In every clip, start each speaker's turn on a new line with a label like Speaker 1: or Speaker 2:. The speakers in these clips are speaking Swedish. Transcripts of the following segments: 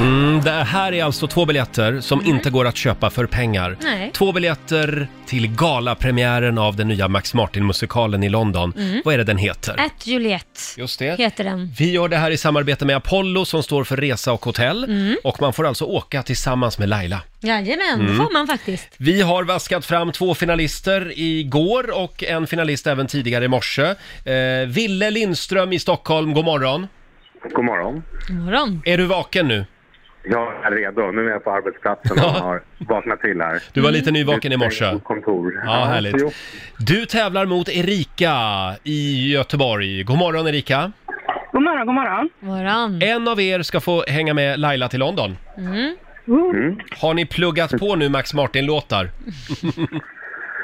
Speaker 1: Mm, det här är alltså två biljetter som inte går att köpa för pengar.
Speaker 2: Mm. Nej.
Speaker 1: Två biljetter till galapremiären av den nya Max Martin-musikalen i London.
Speaker 2: Mm.
Speaker 1: Vad är det den heter?
Speaker 2: At Juliette
Speaker 1: Just det.
Speaker 2: heter den.
Speaker 1: Vi gör det här i samarbete med Apollo som står för resa och hotell.
Speaker 2: Mm.
Speaker 1: Och man får alltså åka tillsammans med Laila.
Speaker 2: Jajamän, det
Speaker 1: Mm.
Speaker 2: får man faktiskt.
Speaker 1: Vi har vaskat fram två finalister igår och en finalist även tidigare i morse. Eh, Ville Lindström i Stockholm, god morgon.
Speaker 3: God morgon.
Speaker 2: God morgon.
Speaker 1: Är du vaken nu?
Speaker 3: Jag är redo. Nu är jag på arbetsplatsen och har vaknat till här.
Speaker 1: Du var lite nyvaken i morse.
Speaker 3: Kontor.
Speaker 1: Ja,
Speaker 3: jo.
Speaker 1: härligt. Du tävlar mot Erika i Göteborg. God morgon Erika.
Speaker 4: God morgon, god morgon.
Speaker 2: morgon.
Speaker 1: En av er ska få hänga med Laila till London.
Speaker 2: Mm.
Speaker 1: Har ni pluggat på nu Max Martin-låtar?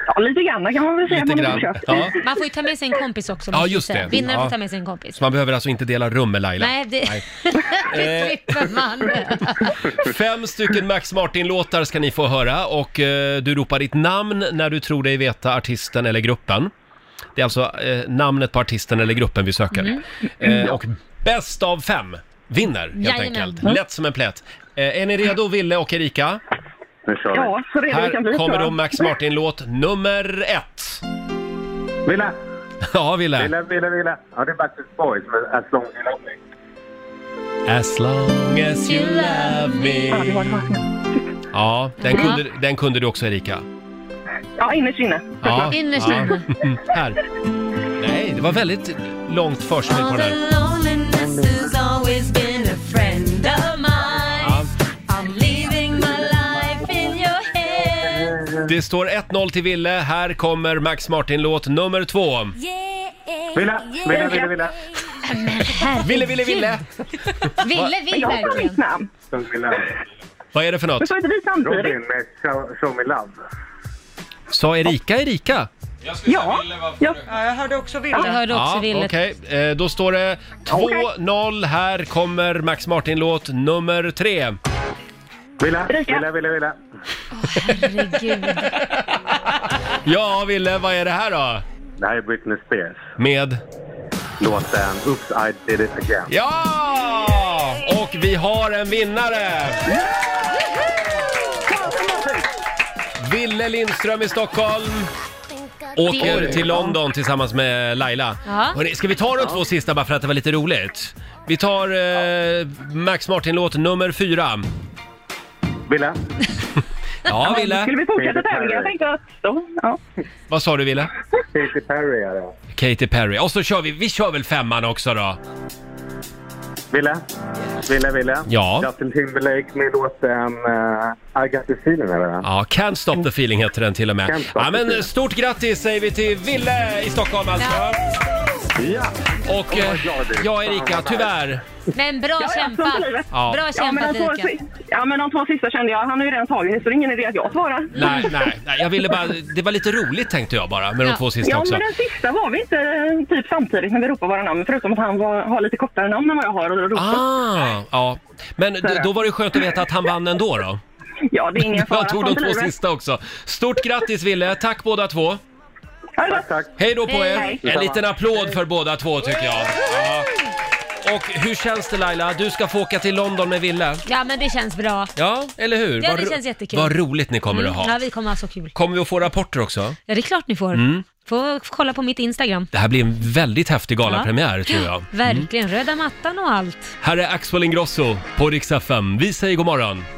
Speaker 4: Ja, lite grann kan man väl säga.
Speaker 1: Lite
Speaker 4: att man
Speaker 1: grann.
Speaker 4: har försökt.
Speaker 1: Ja.
Speaker 2: Man får ju ta med sig en kompis också.
Speaker 1: Ja,
Speaker 2: måste jag
Speaker 1: just
Speaker 2: säga.
Speaker 1: det.
Speaker 2: Vinnaren
Speaker 1: Ja.
Speaker 2: får ta med sig en kompis.
Speaker 1: Så man behöver alltså inte dela rum med Laila.
Speaker 2: Nej, det, det
Speaker 1: Eh.
Speaker 2: slipper man.
Speaker 1: Fem stycken Max Martin-låtar ska ni få höra och eh, du ropar ditt namn när du tror dig veta artisten eller gruppen. Det är alltså eh, namnet på artisten eller gruppen vi söker. Eh, och bäst av fem vinner helt
Speaker 4: Jajamän.
Speaker 1: enkelt. Lätt som en plätt. Eh, är ni redo, Ville och Erika?
Speaker 3: Nu kör vi.
Speaker 4: Ja, så redo vi kan bli.
Speaker 1: Här kommer
Speaker 4: tror jag.
Speaker 1: då Max Martin-låt nummer ett.
Speaker 3: Villa,
Speaker 1: Ja, Ville.
Speaker 3: villa, villa, villa. Ja, det är Backstreet Boys med As long as you love me.
Speaker 1: As long as you love
Speaker 4: Ja, det
Speaker 1: me.
Speaker 4: var det var.
Speaker 1: Ja, den
Speaker 2: Ja.
Speaker 1: kunde, den kunde du också, Erika.
Speaker 4: Ja, innerst inne.
Speaker 1: Ja,
Speaker 2: Innerst
Speaker 1: ja. Mm,
Speaker 2: inne.
Speaker 1: Här. Nej, det var väldigt långt förspel på den här. Ja, det står 1-0 till Ville. Här kommer Max Martin-låt nummer två.
Speaker 3: Villa, villa, villa, villa.
Speaker 1: Ville, Ville, Ville!
Speaker 2: Ville
Speaker 4: Men
Speaker 2: vill
Speaker 4: jag sa mitt
Speaker 2: verkligen.
Speaker 4: namn.
Speaker 3: Som Villa.
Speaker 1: Vad är det för
Speaker 4: Men
Speaker 1: något?
Speaker 4: sa inte vi samtidigt?
Speaker 3: Robin med show, show Me Love.
Speaker 1: Sa Erika Erika?
Speaker 4: Ja. Jag,
Speaker 5: Ja, jag hörde också
Speaker 2: Jag
Speaker 5: Ville.
Speaker 2: hörde också Ville.
Speaker 1: okej. Eh, Då står det 2-0. Här kommer Max Martin-låt nummer tre.
Speaker 3: Villa,
Speaker 4: Erika.
Speaker 3: villa, villa, villa.
Speaker 2: Herregud.
Speaker 1: Ja, Ville, vad är det här då?
Speaker 3: Det här är Britney Spears. Med?
Speaker 1: Med...
Speaker 3: Låten Oops, I did it again.
Speaker 1: Ja! Och vi har en vinnare! Ville Lindström i Stockholm åker
Speaker 2: Oj.
Speaker 1: till London tillsammans med Laila.
Speaker 2: Ja.
Speaker 1: Hörrni, ska vi ta de två sista bara för att det var lite roligt? Vi tar eh, Max Martin-låt nummer fyra.
Speaker 3: Villa,
Speaker 1: Ja, Ville.
Speaker 4: skulle vi fortsätta tävlingen? Jag tänkte att... Så, ja.
Speaker 1: Vad sa du, Ville?
Speaker 3: Katy Perry är det.
Speaker 1: Katy Perry. Och så kör vi, vi kör väl femman också då?
Speaker 3: Villa, villa, villa.
Speaker 1: Ja.
Speaker 3: Justin Timberlake med låten uh, I got the feeling är det va?
Speaker 1: Ja, Can't Stop the Feeling heter den till och
Speaker 3: Can't
Speaker 1: med.
Speaker 3: Stop
Speaker 1: Ja,
Speaker 3: the
Speaker 1: men
Speaker 3: Feeling.
Speaker 1: stort grattis säger vi till Ville i Stockholm alltså.
Speaker 3: Ja.
Speaker 1: Och eh, ja, Erika, tyvärr.
Speaker 2: Men bra
Speaker 4: ja,
Speaker 2: kämpat.
Speaker 4: sånt är livet.
Speaker 1: Ja.
Speaker 2: Bra
Speaker 4: Ja, men
Speaker 2: kämpat
Speaker 4: alltså, de två,
Speaker 2: Erika.
Speaker 4: si- ja, men de två sista kände jag. Han har ju redan tagit det, så det är ingen idé att jag svarar.
Speaker 1: Nej, nej, nej, jag ville bara, det var lite roligt tänkte jag bara med de
Speaker 2: Ja.
Speaker 1: två sista
Speaker 4: Ja,
Speaker 1: också.
Speaker 4: men den sista var vi inte eh, typ samtidigt när vi ropade våra namn, förutom att han var, har lite kortare namn än vad jag har. Och ropar.
Speaker 1: Ah, ja. Men d- då var det skönt att veta att han vann ändå då.
Speaker 4: Ja, det är ingen fara.
Speaker 1: Jag tog de
Speaker 4: sånt är
Speaker 1: två
Speaker 4: livet.
Speaker 1: sista också. Stort grattis Ville, tack båda två.
Speaker 4: Ja, det var-
Speaker 3: Tack, tack.
Speaker 1: Hej då på
Speaker 2: Hej.
Speaker 1: er.
Speaker 4: Hej.
Speaker 1: En liten applåd för båda två tycker jag. Ja. Och hur känns det Laila? Du ska få åka till London med Ville.
Speaker 2: Ja men det känns bra.
Speaker 1: Ja, eller hur?
Speaker 2: Ja,
Speaker 1: Vad
Speaker 2: det
Speaker 1: ro-
Speaker 2: känns jättekul.
Speaker 1: Vad roligt ni kommer
Speaker 2: Mm.
Speaker 1: att ha.
Speaker 2: Ja vi kommer ha så kul.
Speaker 1: Kommer vi att få rapporter också?
Speaker 2: Ja det är klart ni får.
Speaker 1: Mm.
Speaker 2: Får kolla på mitt Instagram.
Speaker 1: Det här blir en väldigt häftig galapremiär tror jag.
Speaker 2: Verkligen, röda mattan och allt.
Speaker 1: Här är Axel Ingrosso på Rix FM. Vi säger god morgon.